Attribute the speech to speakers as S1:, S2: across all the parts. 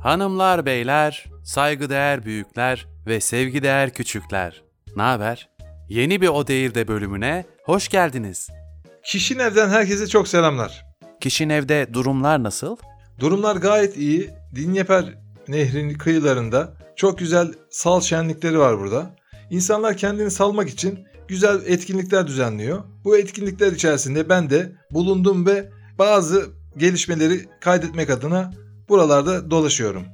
S1: Hanımlar, beyler, saygıdeğer büyükler ve sevgideğer küçükler. Ne haber? Yeni bir O Değil'de bölümüne hoş geldiniz.
S2: Kişin evden herkese çok selamlar.
S1: Kişinin evde durumlar nasıl?
S2: Durumlar gayet iyi. Dinyeper nehrinin kıyılarında çok güzel sal şenlikleri var burada. İnsanlar kendini salmak için güzel etkinlikler düzenliyor. Bu etkinlikler içerisinde ben de bulundum ve bazı gelişmeleri kaydetmek adına buralarda dolaşıyorum.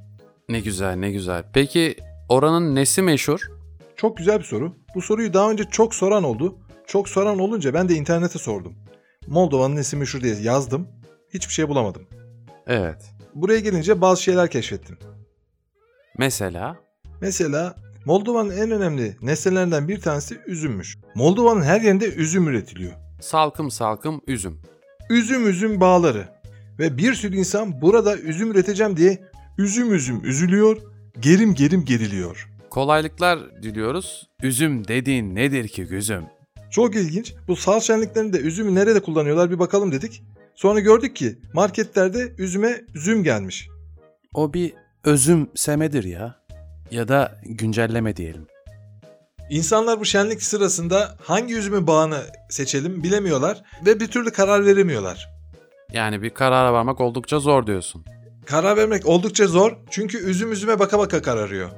S1: Ne güzel, ne güzel. Peki oranın nesi meşhur?
S2: Çok güzel bir soru. Bu soruyu daha önce çok soran oldu. Çok soran olunca ben de internete sordum. Moldova'nın nesi meşhur diye yazdım. Hiçbir şey bulamadım.
S1: Evet.
S2: Buraya gelince bazı şeyler keşfettim.
S1: Mesela?
S2: Mesela Moldova'nın en önemli nesnelerinden bir tanesi üzümmüş. Moldova'nın her yerinde üzüm üretiliyor.
S1: Salkım salkım üzüm.
S2: Üzüm üzüm bağları ve bir sürü insan burada üzüm üreteceğim diye üzüm üzüm üzülüyor, gerim gerim geriliyor.
S1: Kolaylıklar diliyoruz. Üzüm dediğin nedir ki güzüm?
S2: Çok ilginç. Bu sal şenliklerinde üzümü nerede kullanıyorlar bir bakalım dedik. Sonra gördük ki marketlerde üzüme üzüm gelmiş.
S1: O bir özümsemedir ya. Ya da güncelleme diyelim.
S2: İnsanlar bu şenlik sırasında hangi üzümün bağını seçelim bilemiyorlar ve bir türlü karar veremiyorlar.
S1: Yani bir karara varmak oldukça zor diyorsun.
S2: Karar vermek oldukça zor çünkü üzüm üzüme baka baka kararıyor.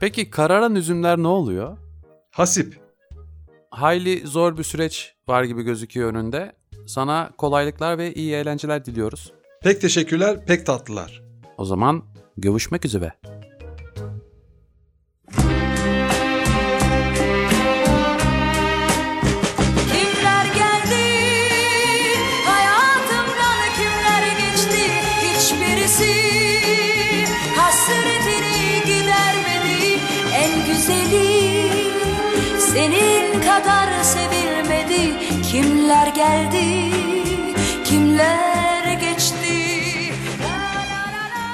S1: Peki kararan üzümler ne oluyor?
S2: Hasip.
S1: Hayli zor bir süreç var gibi gözüküyor önünde. Sana kolaylıklar ve iyi eğlenceler diliyoruz.
S2: Pek teşekkürler, pek tatlılar.
S1: O zaman görüşmek üzere.
S3: Kimler geldi hayatımdan kimler geçti hiçbirisi hasretini gidermedi en güzeli senin kadar sevilmedi kimler geldi kimler geçti La la la la.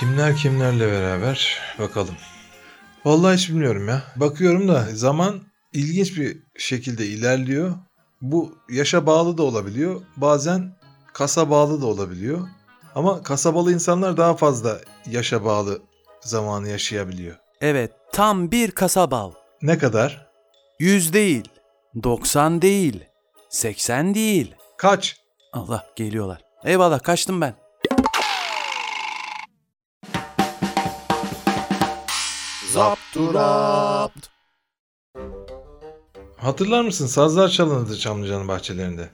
S2: Kimler kimlerle beraber bakalım. Vallahi hiç bilmiyorum ya. Bakıyorum da zaman ilginç bir şekilde ilerliyor. Bu yaşa bağlı da olabiliyor. Bazen kasa bağlı da olabiliyor. Ama kasabalı insanlar daha fazla yaşa bağlı zamanı yaşayabiliyor.
S1: Evet, tam bir kasabal.
S2: Ne kadar?
S1: 100 değil, 90 değil, 80 değil.
S2: Kaç?
S1: Allah geliyorlar. Eyvallah kaçtım ben. Zapturapt.
S2: Hatırlar mısın sazlar çalınırdı Çamlıca'nın bahçelerinde.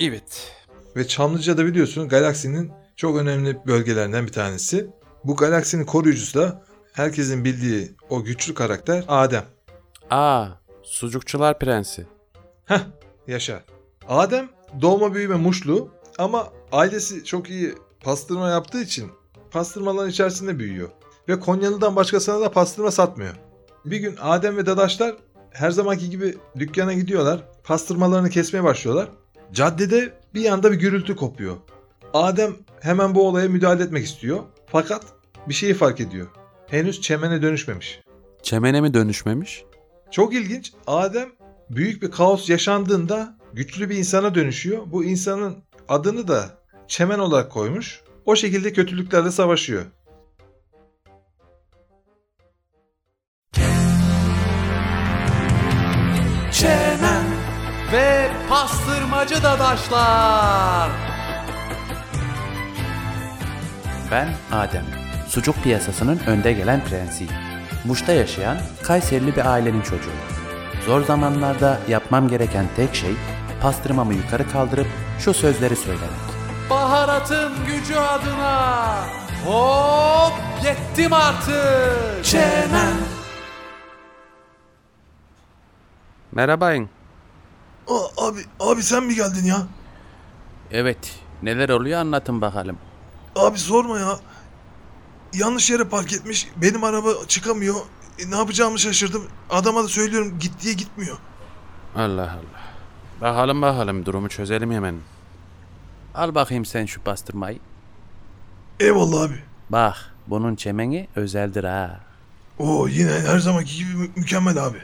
S1: Evet.
S2: Ve Çamlıca'da biliyorsun galaksinin çok önemli bölgelerinden bir tanesi. Bu galaksinin koruyucusu da herkesin bildiği o güçlü karakter Adem.
S1: Aa, sucukçular prensi.
S2: Heh yaşa. Adem doğma büyüme Muşlu ama ailesi çok iyi pastırma yaptığı için pastırmaların içerisinde büyüyor. Ve Konyalı'dan başkasına da pastırma satmıyor. Bir gün Adem ve dadaşlar her zamanki gibi dükkana gidiyorlar. Pastırmalarını kesmeye başlıyorlar. Caddede bir anda bir gürültü kopuyor. Adem hemen bu olaya müdahale etmek istiyor. Fakat bir şeyi fark ediyor. Henüz çemene dönüşmemiş.
S1: Çemene mi dönüşmemiş?
S2: Çok ilginç. Adem büyük bir kaos yaşandığında güçlü bir insana dönüşüyor. Bu insanın adını da çemen olarak koymuş. O şekilde kötülüklerle savaşıyor.
S1: Çemen ve pastırmacı dadaşlar. Ben Adem. Sucuk piyasasının önde gelen prensiyim. Muş'ta yaşayan Kayserili bir ailenin çocuğu. Zor zamanlarda yapmam gereken tek şey pastırmamı yukarı kaldırıp şu sözleri söylemek. Baharatın gücü adına hop yettim artık. Çemen. Merhabayın.
S2: abi abi sen mi geldin ya?
S1: Evet. Neler oluyor anlatın bakalım.
S2: Abi sorma ya. Yanlış yere park etmiş. Benim araba çıkamıyor. E, ne yapacağımı şaşırdım. Adama da söylüyorum git diye gitmiyor.
S1: Allah Allah. Bakalım bakalım durumu çözelim hemen. Al bakayım sen şu pastırmayı.
S2: Eyvallah abi.
S1: Bak bunun çemeni özeldir ha.
S2: Oo yine her zamanki gibi mü- mükemmel abi.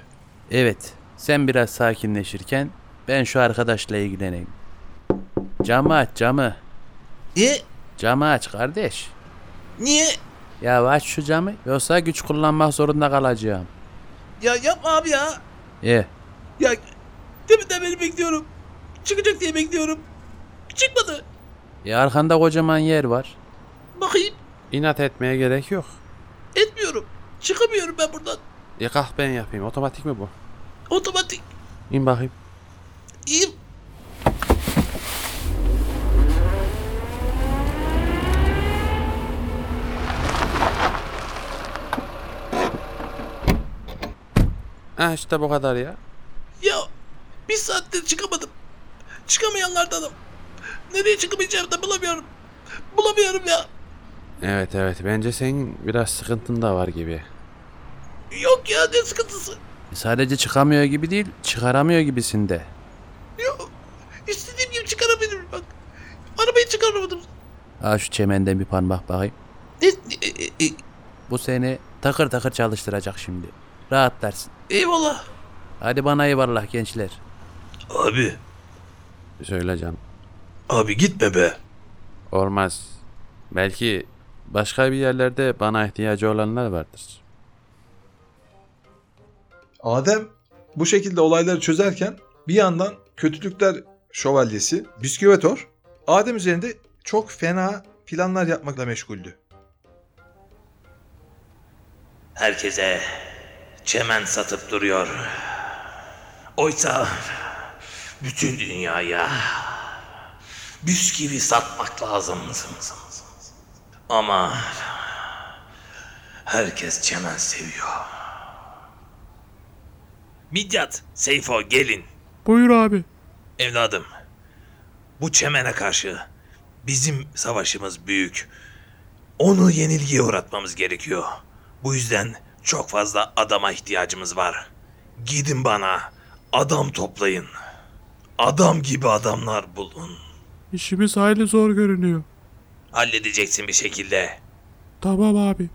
S1: Evet sen biraz sakinleşirken ben şu arkadaşla ilgileneyim. Camı aç camı.
S4: E
S1: Camı aç kardeş.
S4: Niye?
S1: Ya aç şu camı yoksa güç kullanmak zorunda kalacağım. E,
S4: Ya yapma abi ya.
S1: İyi.
S4: Ya deminden beri bekliyorum. Çıkacak diye bekliyorum. Çıkmadı.
S1: Ya e, arkanda kocaman yer var.
S4: Bakayım
S1: İnat etmeye gerek yok.
S4: etmiyorum. Çıkamıyorum ben buradan.
S1: E kah ben yapayım. Otomatik mi bu?
S4: Otomatik.
S1: İn bakayım.
S4: İyiyim.
S1: Ha işte bu kadar ya.
S4: Ya bir saattir çıkamadım. Çıkamayanlardanım. Nereye çıkamayacağımı da bulamıyorum. Bulamıyorum ya.
S1: Evet evet bence senin biraz sıkıntın da var gibi.
S4: Yok ya ne sıkıntısı.
S1: Sadece çıkamıyor gibi değil çıkaramıyor gibisin de.
S4: Yok. İstediğim gibi çıkarabilirim bak. Arabayı çıkaramadım.
S1: Ha şu çemenden bir parmak bakayım.
S4: Ne, e- e- e-
S1: Bu seni takır takır çalıştıracak şimdi. Rahatlarsın.
S4: eyvallah.
S1: Hadi bana eyvallah gençler.
S4: Abi.
S1: Söyle canım.
S4: Abi gitme be.
S1: Olmaz. Belki başka bir yerlerde bana ihtiyacı olanlar vardır.
S2: Adem bu şekilde olayları çözerken bir yandan kötülükler şövalyesi Bisküvetor Adem üzerinde çok fena planlar yapmakla meşguldü.
S5: Herkese çemen satıp duruyor. Oysa bütün dünyaya bisküvi satmak lazım. Ama herkes çemen seviyor. Midyat, Seyfo gelin.
S6: Buyur abi.
S5: Evladım, bu çemene karşı bizim savaşımız büyük. Onu yenilgiye uğratmamız gerekiyor. Bu yüzden çok fazla adama ihtiyacımız var. Gidin bana, adam toplayın. Adam gibi adamlar bulun.
S6: İşimiz hayli zor görünüyor.
S5: Halledeceksin bir şekilde.
S6: Tamam abi.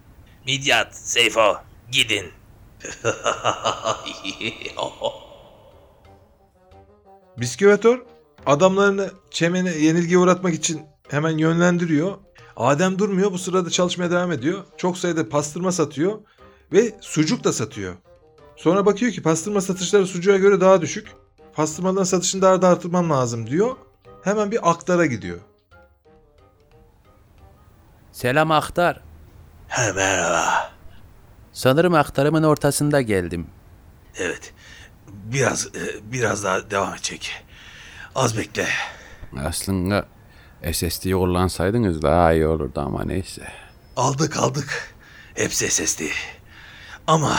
S5: Midyat, Seyfo, gidin.
S2: Bisküvetor adamlarını çemene yenilgiye uğratmak için hemen yönlendiriyor. Adem durmuyor bu sırada çalışmaya devam ediyor. Çok sayıda pastırma satıyor ve sucuk da satıyor. Sonra bakıyor ki pastırma satışları sucuğa göre daha düşük. Pastırmaların satışını daha da artırmam lazım diyor. Hemen bir aktara gidiyor.
S1: Selam Aktar.
S5: Ha, merhaba.
S1: Sanırım aktarımın ortasında geldim.
S5: Evet, biraz e, biraz daha devam edecek. Az bekle.
S7: Aslında SSD'yi kullansaydınız daha iyi olurdu ama neyse.
S5: Aldık aldık. Hepsi SSD. Ama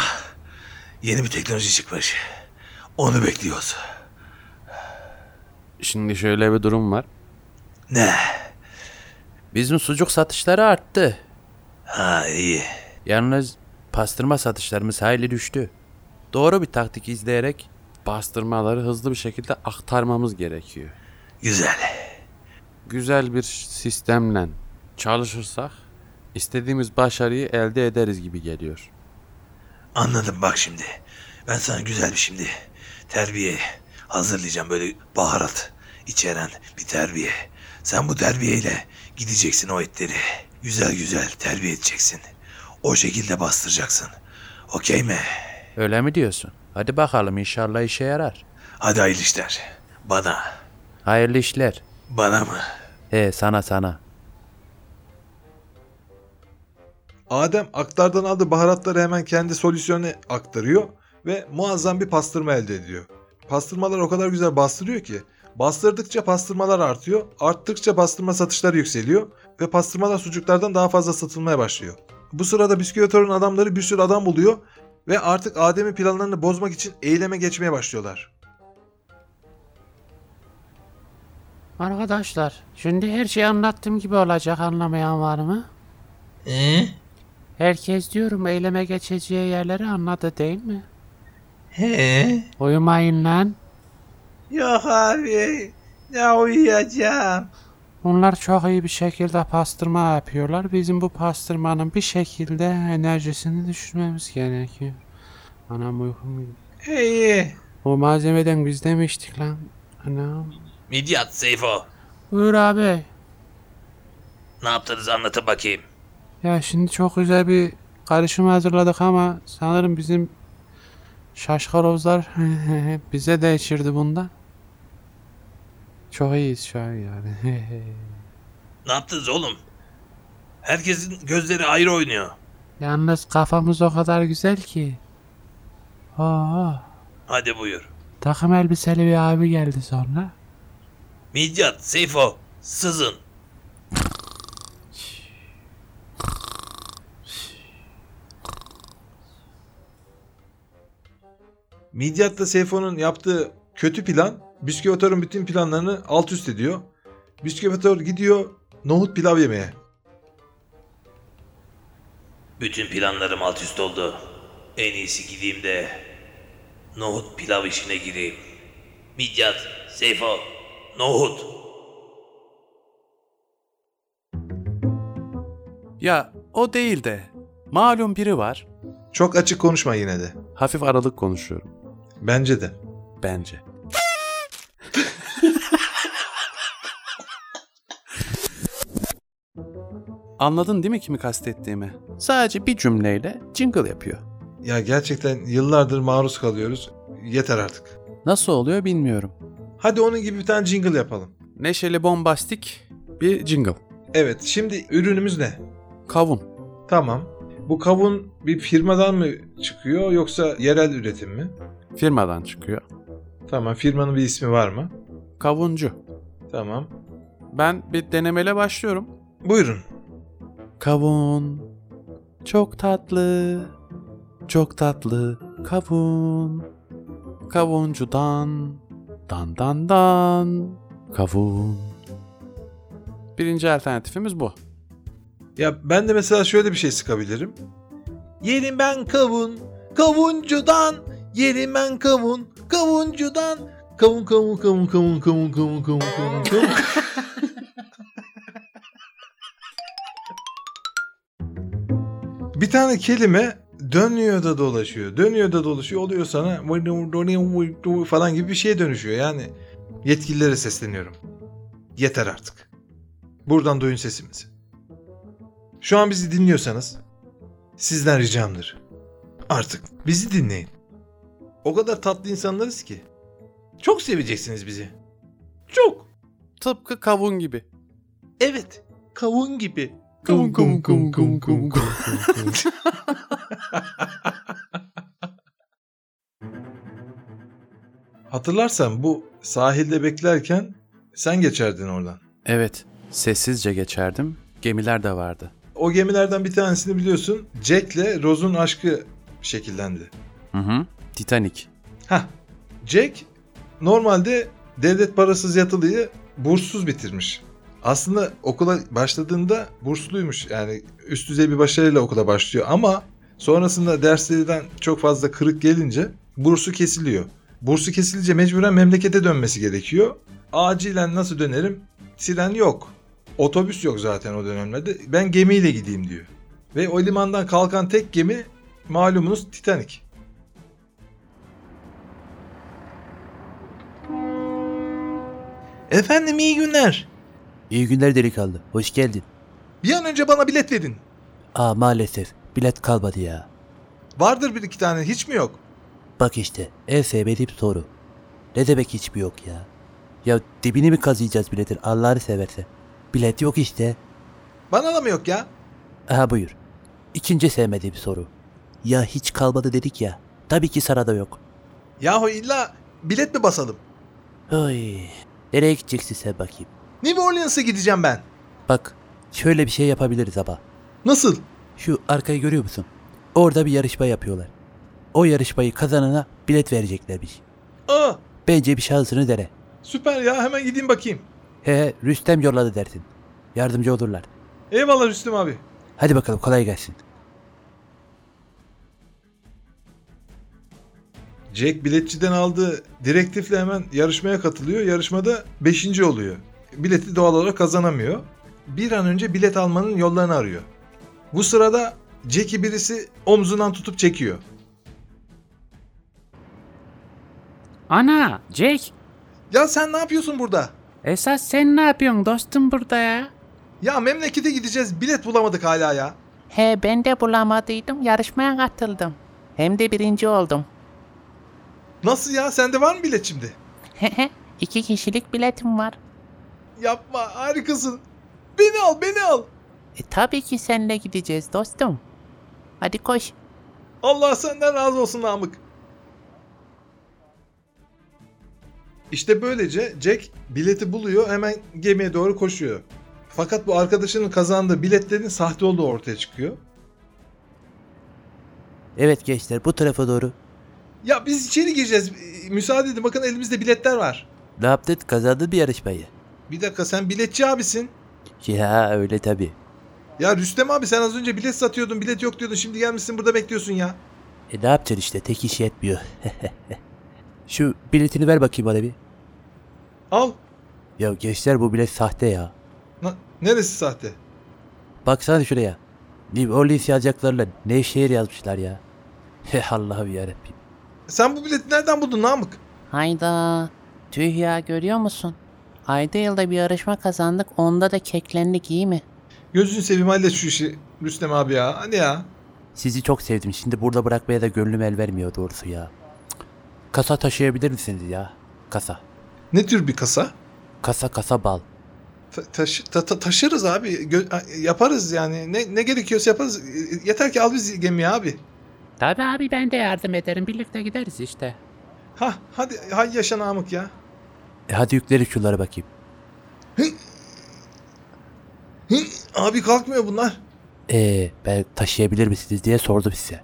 S5: yeni bir teknoloji çıkmış. Onu bekliyoruz.
S7: Şimdi şöyle bir durum var.
S5: Ne?
S1: Bizim sucuk satışları arttı.
S5: Ha iyi.
S1: Yalnız pastırma satışlarımız hayli düştü. Doğru bir taktik izleyerek
S7: Bastırmaları hızlı bir şekilde aktarmamız gerekiyor.
S5: Güzel.
S7: Güzel bir sistemle çalışırsak istediğimiz başarıyı elde ederiz gibi geliyor.
S5: Anladım bak şimdi. Ben sana güzel bir şimdi terbiye hazırlayacağım böyle baharat içeren bir terbiye. Sen bu terbiyeyle gideceksin o etleri. Güzel güzel terbiye edeceksin. O şekilde bastıracaksın. Okey mi?
S1: öyle mi diyorsun? Hadi bakalım inşallah işe yarar.
S5: Hadi hayırlı işler. Bana.
S1: Hayırlı işler.
S5: Bana mı?
S1: He sana sana.
S2: Adem aktardan aldığı baharatları hemen kendi solüsyonuna aktarıyor ve muazzam bir pastırma elde ediyor. Pastırmalar o kadar güzel bastırıyor ki bastırdıkça pastırmalar artıyor, arttıkça pastırma satışları yükseliyor ve pastırmalar sucuklardan daha fazla satılmaya başlıyor. Bu sırada bisküvitörün adamları bir sürü adam buluyor ve artık Adem'in planlarını bozmak için eyleme geçmeye başlıyorlar.
S8: Arkadaşlar, şimdi her şeyi anlattığım gibi olacak anlamayan var mı?
S4: Ee?
S8: Herkes diyorum eyleme geçeceği yerleri anladı değil mi?
S4: He?
S8: Uyumayın lan.
S4: Yok abi. Ya uyuyacağım.
S8: Bunlar çok iyi bir şekilde pastırma yapıyorlar. Bizim bu pastırmanın bir şekilde enerjisini düşürmemiz gerekiyor. Anam uykum geldi.
S4: İyi.
S8: O malzemeden biz demiştik lan. Anam.
S5: Midyat Seyfo.
S8: Buyur abi.
S5: Ne yaptınız anlatın bakayım.
S8: Ya şimdi çok güzel bir karışım hazırladık ama sanırım bizim şaşkarozlar bize de içirdi bunda. Çok iyiyiz şu an yani.
S5: Ne yaptınız oğlum? Herkesin gözleri ayrı oynuyor.
S8: Yalnız kafamız o kadar güzel ki. Oo,
S5: Hadi buyur.
S8: takım elbiseli bir abi geldi sonra.
S5: Midyat, Seyfo, sızın.
S2: Midyat'ta Seyfo'nun yaptığı kötü plan Bisküvatör'ün bütün planlarını alt üst ediyor. Bisküvatör gidiyor nohut pilav yemeye.
S5: Bütün planlarım alt üst oldu. En iyisi gideyim de nohut pilav işine gireyim. Midyat, Seyfo, nohut.
S1: Ya o değil de. Malum biri var.
S2: Çok açık konuşma yine de.
S1: Hafif aralık konuşuyorum
S2: Bence de.
S1: bence. Anladın değil mi kimi kastettiğimi? Sadece bir cümleyle jingle yapıyor.
S2: Ya gerçekten yıllardır maruz kalıyoruz. Yeter artık.
S1: Nasıl oluyor bilmiyorum.
S2: Hadi onun gibi bir tane jingle yapalım.
S7: Neşeli bombastik bir jingle.
S2: Evet şimdi ürünümüz ne?
S7: Kavun.
S2: Tamam. Bu kavun bir firmadan mı çıkıyor yoksa yerel üretim mi?
S7: Firmadan çıkıyor.
S2: Tamam firmanın bir ismi var mı?
S7: Kavuncu.
S2: Tamam.
S7: Ben bir denemeyle başlıyorum.
S2: Buyurun.
S1: Kavun. Çok tatlı. Çok tatlı kavun. Kavuncudan. Dan dan dan. Kavun.
S7: Birinci alternatifimiz bu.
S2: Ya ben de mesela şöyle bir şey sıkabilirim. Yerim ben kavun, kavuncudan. Yerim ben kavun, kavuncudan. Kavun kavun kavun kavun kavun kavun kavun kavun kavun. bir tane kelime dönüyor da dolaşıyor. Dönüyor da dolaşıyor. Oluyor sana falan gibi bir şeye dönüşüyor. Yani yetkililere sesleniyorum. Yeter artık. Buradan duyun sesimizi. Şu an bizi dinliyorsanız sizden ricamdır. Artık bizi dinleyin. O kadar tatlı insanlarız ki. Çok seveceksiniz bizi. Çok.
S7: Tıpkı kavun gibi.
S2: Evet. Kavun gibi.
S6: Kum kum kum kum kum kum.
S2: Hatırlarsan bu sahilde beklerken sen geçerdin oradan.
S1: Evet, sessizce geçerdim. Gemiler de vardı.
S2: O gemilerden bir tanesini biliyorsun. Jack'le Rose'un aşkı şekillendi.
S1: Hı hı. Titanic.
S2: Hah. Jack normalde devlet parasız yatılıyı burssuz bitirmiş. Aslında okula başladığında bursluymuş. Yani üst düzey bir başarıyla okula başlıyor ama sonrasında derslerden çok fazla kırık gelince bursu kesiliyor. Bursu kesilince mecburen memlekete dönmesi gerekiyor. Acilen nasıl dönerim? Tren yok. Otobüs yok zaten o dönemlerde. Ben gemiyle gideyim diyor. Ve o limandan kalkan tek gemi malumunuz Titanic. Efendim iyi günler.
S9: İyi günler delikanlı. Hoş geldin.
S2: Bir an önce bana bilet verin.
S9: Aa maalesef bilet kalmadı ya.
S2: Vardır bir iki tane hiç mi yok?
S9: Bak işte en sevmediğim soru. Ne demek hiç mi yok ya? Ya dibini mi kazıyacağız biletin Allah'ını seversen. Bilet yok işte.
S2: Bana da mı yok ya?
S9: Aha buyur. İkinci sevmediğim soru. Ya hiç kalmadı dedik ya. Tabii ki sana da yok.
S2: Yahu illa bilet mi basalım?
S9: Oy. Nereye gideceksin sen bakayım?
S2: New Orleans'a gideceğim ben.
S9: Bak şöyle bir şey yapabiliriz ama.
S2: Nasıl?
S9: Şu arkayı görüyor musun? Orada bir yarışma yapıyorlar. O yarışmayı kazanana bilet vereceklermiş.
S2: Aa
S9: Bence bir şansını dene.
S2: süper ya hemen gideyim bakayım.
S9: He Rüstem yolladı dersin. Yardımcı olurlar.
S2: Eyvallah Rüstüm abi.
S9: Hadi bakalım kolay gelsin.
S2: Jack biletçiden aldığı direktifle hemen yarışmaya katılıyor. Yarışmada 5. oluyor. Bileti doğal olarak kazanamıyor. Bir an önce bilet almanın yollarını arıyor. Bu sırada Jack'i birisi omzundan tutup çekiyor.
S8: Ana Jack
S2: Ya sen ne yapıyorsun burada?
S8: esas sen ne yapıyorsun dostum burada ya?
S2: Ya memlekete gideceğiz bilet bulamadık hala ya.
S10: He ben de bulamadıydım yarışmaya katıldım. Hem de birinci oldum.
S2: Nasıl ya? Sende var mı bilet şimdi?
S10: İki kişilik biletim var.
S2: Yapma harikasın. Beni al beni al.
S10: E, tabii ki seninle gideceğiz dostum. Hadi koş.
S2: Allah senden razı olsun Namık. İşte böylece Jack bileti buluyor hemen gemiye doğru koşuyor. Fakat bu arkadaşının kazandığı biletlerin sahte olduğu ortaya çıkıyor.
S9: Evet gençler bu tarafa doğru.
S2: Ya biz içeri gireceğiz. Ee, Müsaade edin bakın elimizde biletler var.
S9: Ne yaptın kazandın bir yarışmayı.
S2: Bir dakika sen biletçi abisin.
S9: Ya öyle tabii.
S2: Ya Rüstem abi sen az önce bilet satıyordun bilet yok diyordun şimdi gelmişsin burada bekliyorsun ya.
S9: E ne yapacaksın işte tek iş yetmiyor. Şu biletini ver bakayım bana bir.
S2: Al.
S9: Ya gençler bu bilet sahte ya.
S2: Na- neresi sahte?
S9: Baksana şuraya. New Orleans yazacaklarla Nevşehir yazmışlar ya. Allah'ım yarabbim.
S2: Sen bu bileti nereden buldun Namık?
S10: Hayda. Tüh ya görüyor musun? Ayda yılda bir yarışma kazandık onda da keklendik iyi mi?
S2: Gözünü seveyim hallet şu işi Rüstem abi ya. Hadi ya.
S9: Sizi çok sevdim. Şimdi burada bırakmaya da gönlüm el vermiyor doğrusu ya. Cık. Kasa taşıyabilir misiniz ya? Kasa.
S2: Ne tür bir kasa?
S9: Kasa kasa bal.
S2: Ta- taşı- ta- ta- taşırız abi. Gö- yaparız yani. Ne, ne gerekiyorsa yaparız. E- Yeter ki al bizi gemiye abi.
S10: Tabii abi ben de yardım ederim birlikte gideriz işte.
S2: Hah hadi hay yaşa Namık ya.
S9: E hadi yükleri şunlara bakayım.
S2: Hı, abi kalkmıyor bunlar.
S9: Ee ben taşıyabilir misiniz diye sordum size.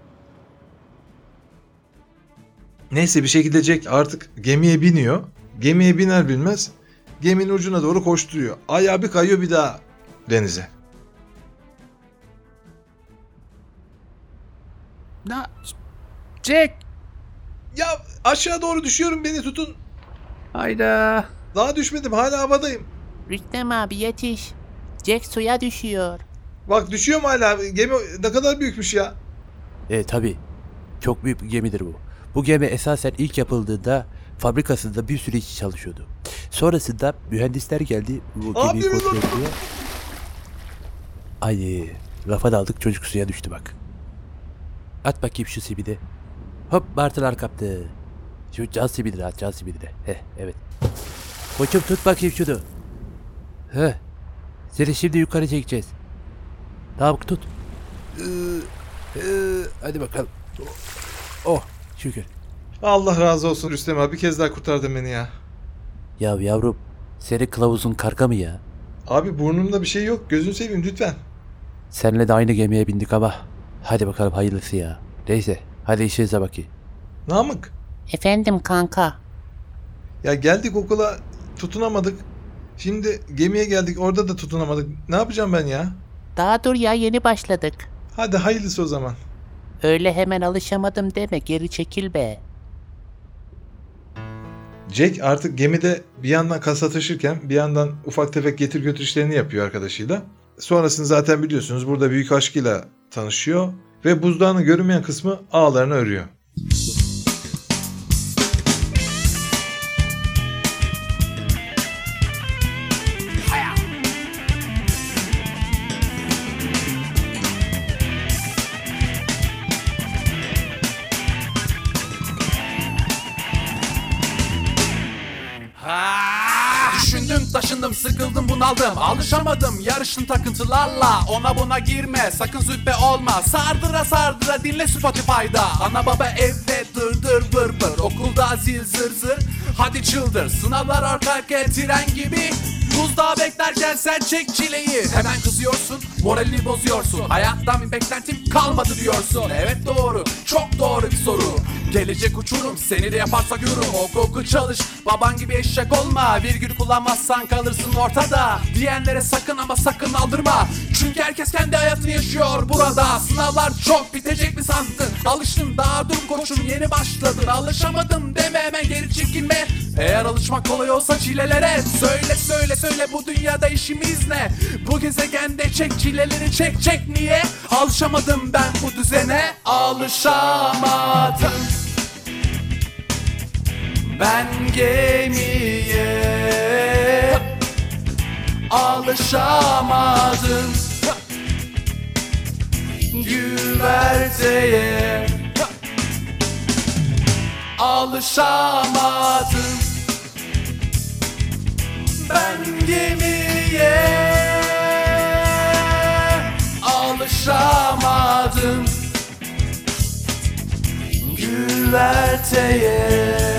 S2: Neyse bir şekilde Jack artık gemiye biniyor. Gemiye biner bilmez geminin ucuna doğru koşturuyor. Ayağı bir kayıyor bir daha denize.
S4: Na Jack.
S2: Ya aşağı doğru düşüyorum beni tutun.
S7: Hayda.
S2: Daha düşmedim hala havadayım.
S10: Rüstem abi yetiş. Jack suya düşüyor.
S2: Bak düşüyorum hala. Gemi ne kadar büyükmüş ya.
S9: E tabi. Çok büyük bir gemidir bu. Bu gemi esasen ilk yapıldığında fabrikasında bir sürü işçi çalışıyordu. Sonrasında mühendisler geldi bu
S2: Abi,
S9: gemiyi kontrol
S2: dur, dur.
S9: ediyor. Ay rafa daldık çocuk suya düştü bak. At bakayım şu simidi. Hop martılar kaptı. Şu can simidini at can simidini. Heh evet. Koçum tut bakayım şunu. Heh. Seni şimdi yukarı çekeceğiz. Tamam tut. Ee, hadi bakalım. Oh şükür.
S2: Allah razı olsun Rüstem abi. Bir kez daha kurtardın beni ya.
S9: Ya yavrum seni kılavuzun karga mı ya?
S2: Abi burnumda bir şey yok. Gözünü seveyim lütfen.
S9: Senle de aynı gemiye bindik ama. Hadi bakalım hayırlısı ya. Neyse hadi işinize bakayım.
S2: Namık.
S10: Efendim kanka.
S2: Ya geldik okula tutunamadık. Şimdi gemiye geldik orada da tutunamadık. Ne yapacağım ben ya?
S10: Daha dur ya yeni başladık.
S2: Hadi hayırlısı o zaman.
S10: Öyle hemen alışamadım deme geri çekil be.
S2: Jack artık gemide bir yandan kasa taşırken bir yandan ufak tefek getir götür işlerini yapıyor arkadaşıyla. Sonrasını zaten biliyorsunuz burada büyük aşkıyla tanışıyor ve buzdağının görünmeyen kısmı ağlarını örüyor.
S11: Ah! Düşündüm taşındım sıkıldım bunaldım Alışamadım yarışın takıntılarla Ona buna girme sakın züppe olma Sardıra sardıra dinle Spotify'da Ana baba evde dırdır vır vır Okulda zil zır zır Hadi çıldır sınavlar arka arkaya tren gibi Buzdağı beklerken sen çek çileyi Hemen kızıyorsun moralini bozuyorsun Hayattan bir beklentim kalmadı diyorsun Evet doğru çok doğru bir soru Gelecek uçurum seni de yaparsak yorum Oku oku çalış baban gibi eşek olma Virgül kullanmazsan kalırsın ortada Diyenlere sakın ama sakın aldırma Çünkü herkes kendi hayatını yaşıyor burada Sınavlar çok bitecek mi sandın Alıştım daha dur koçum yeni başladın Alışamadım deme hemen geri çekilme Eğer alışmak kolay olsa çilelere Söyle söyle söyle bu dünyada işimiz ne Bu gezegende çek çileleri çek çek niye Alışamadım ben bu düzene Alışamadım ben gemiye alışamadım güverteye Alışamadım Ben gemiye Alışamadım Güverteye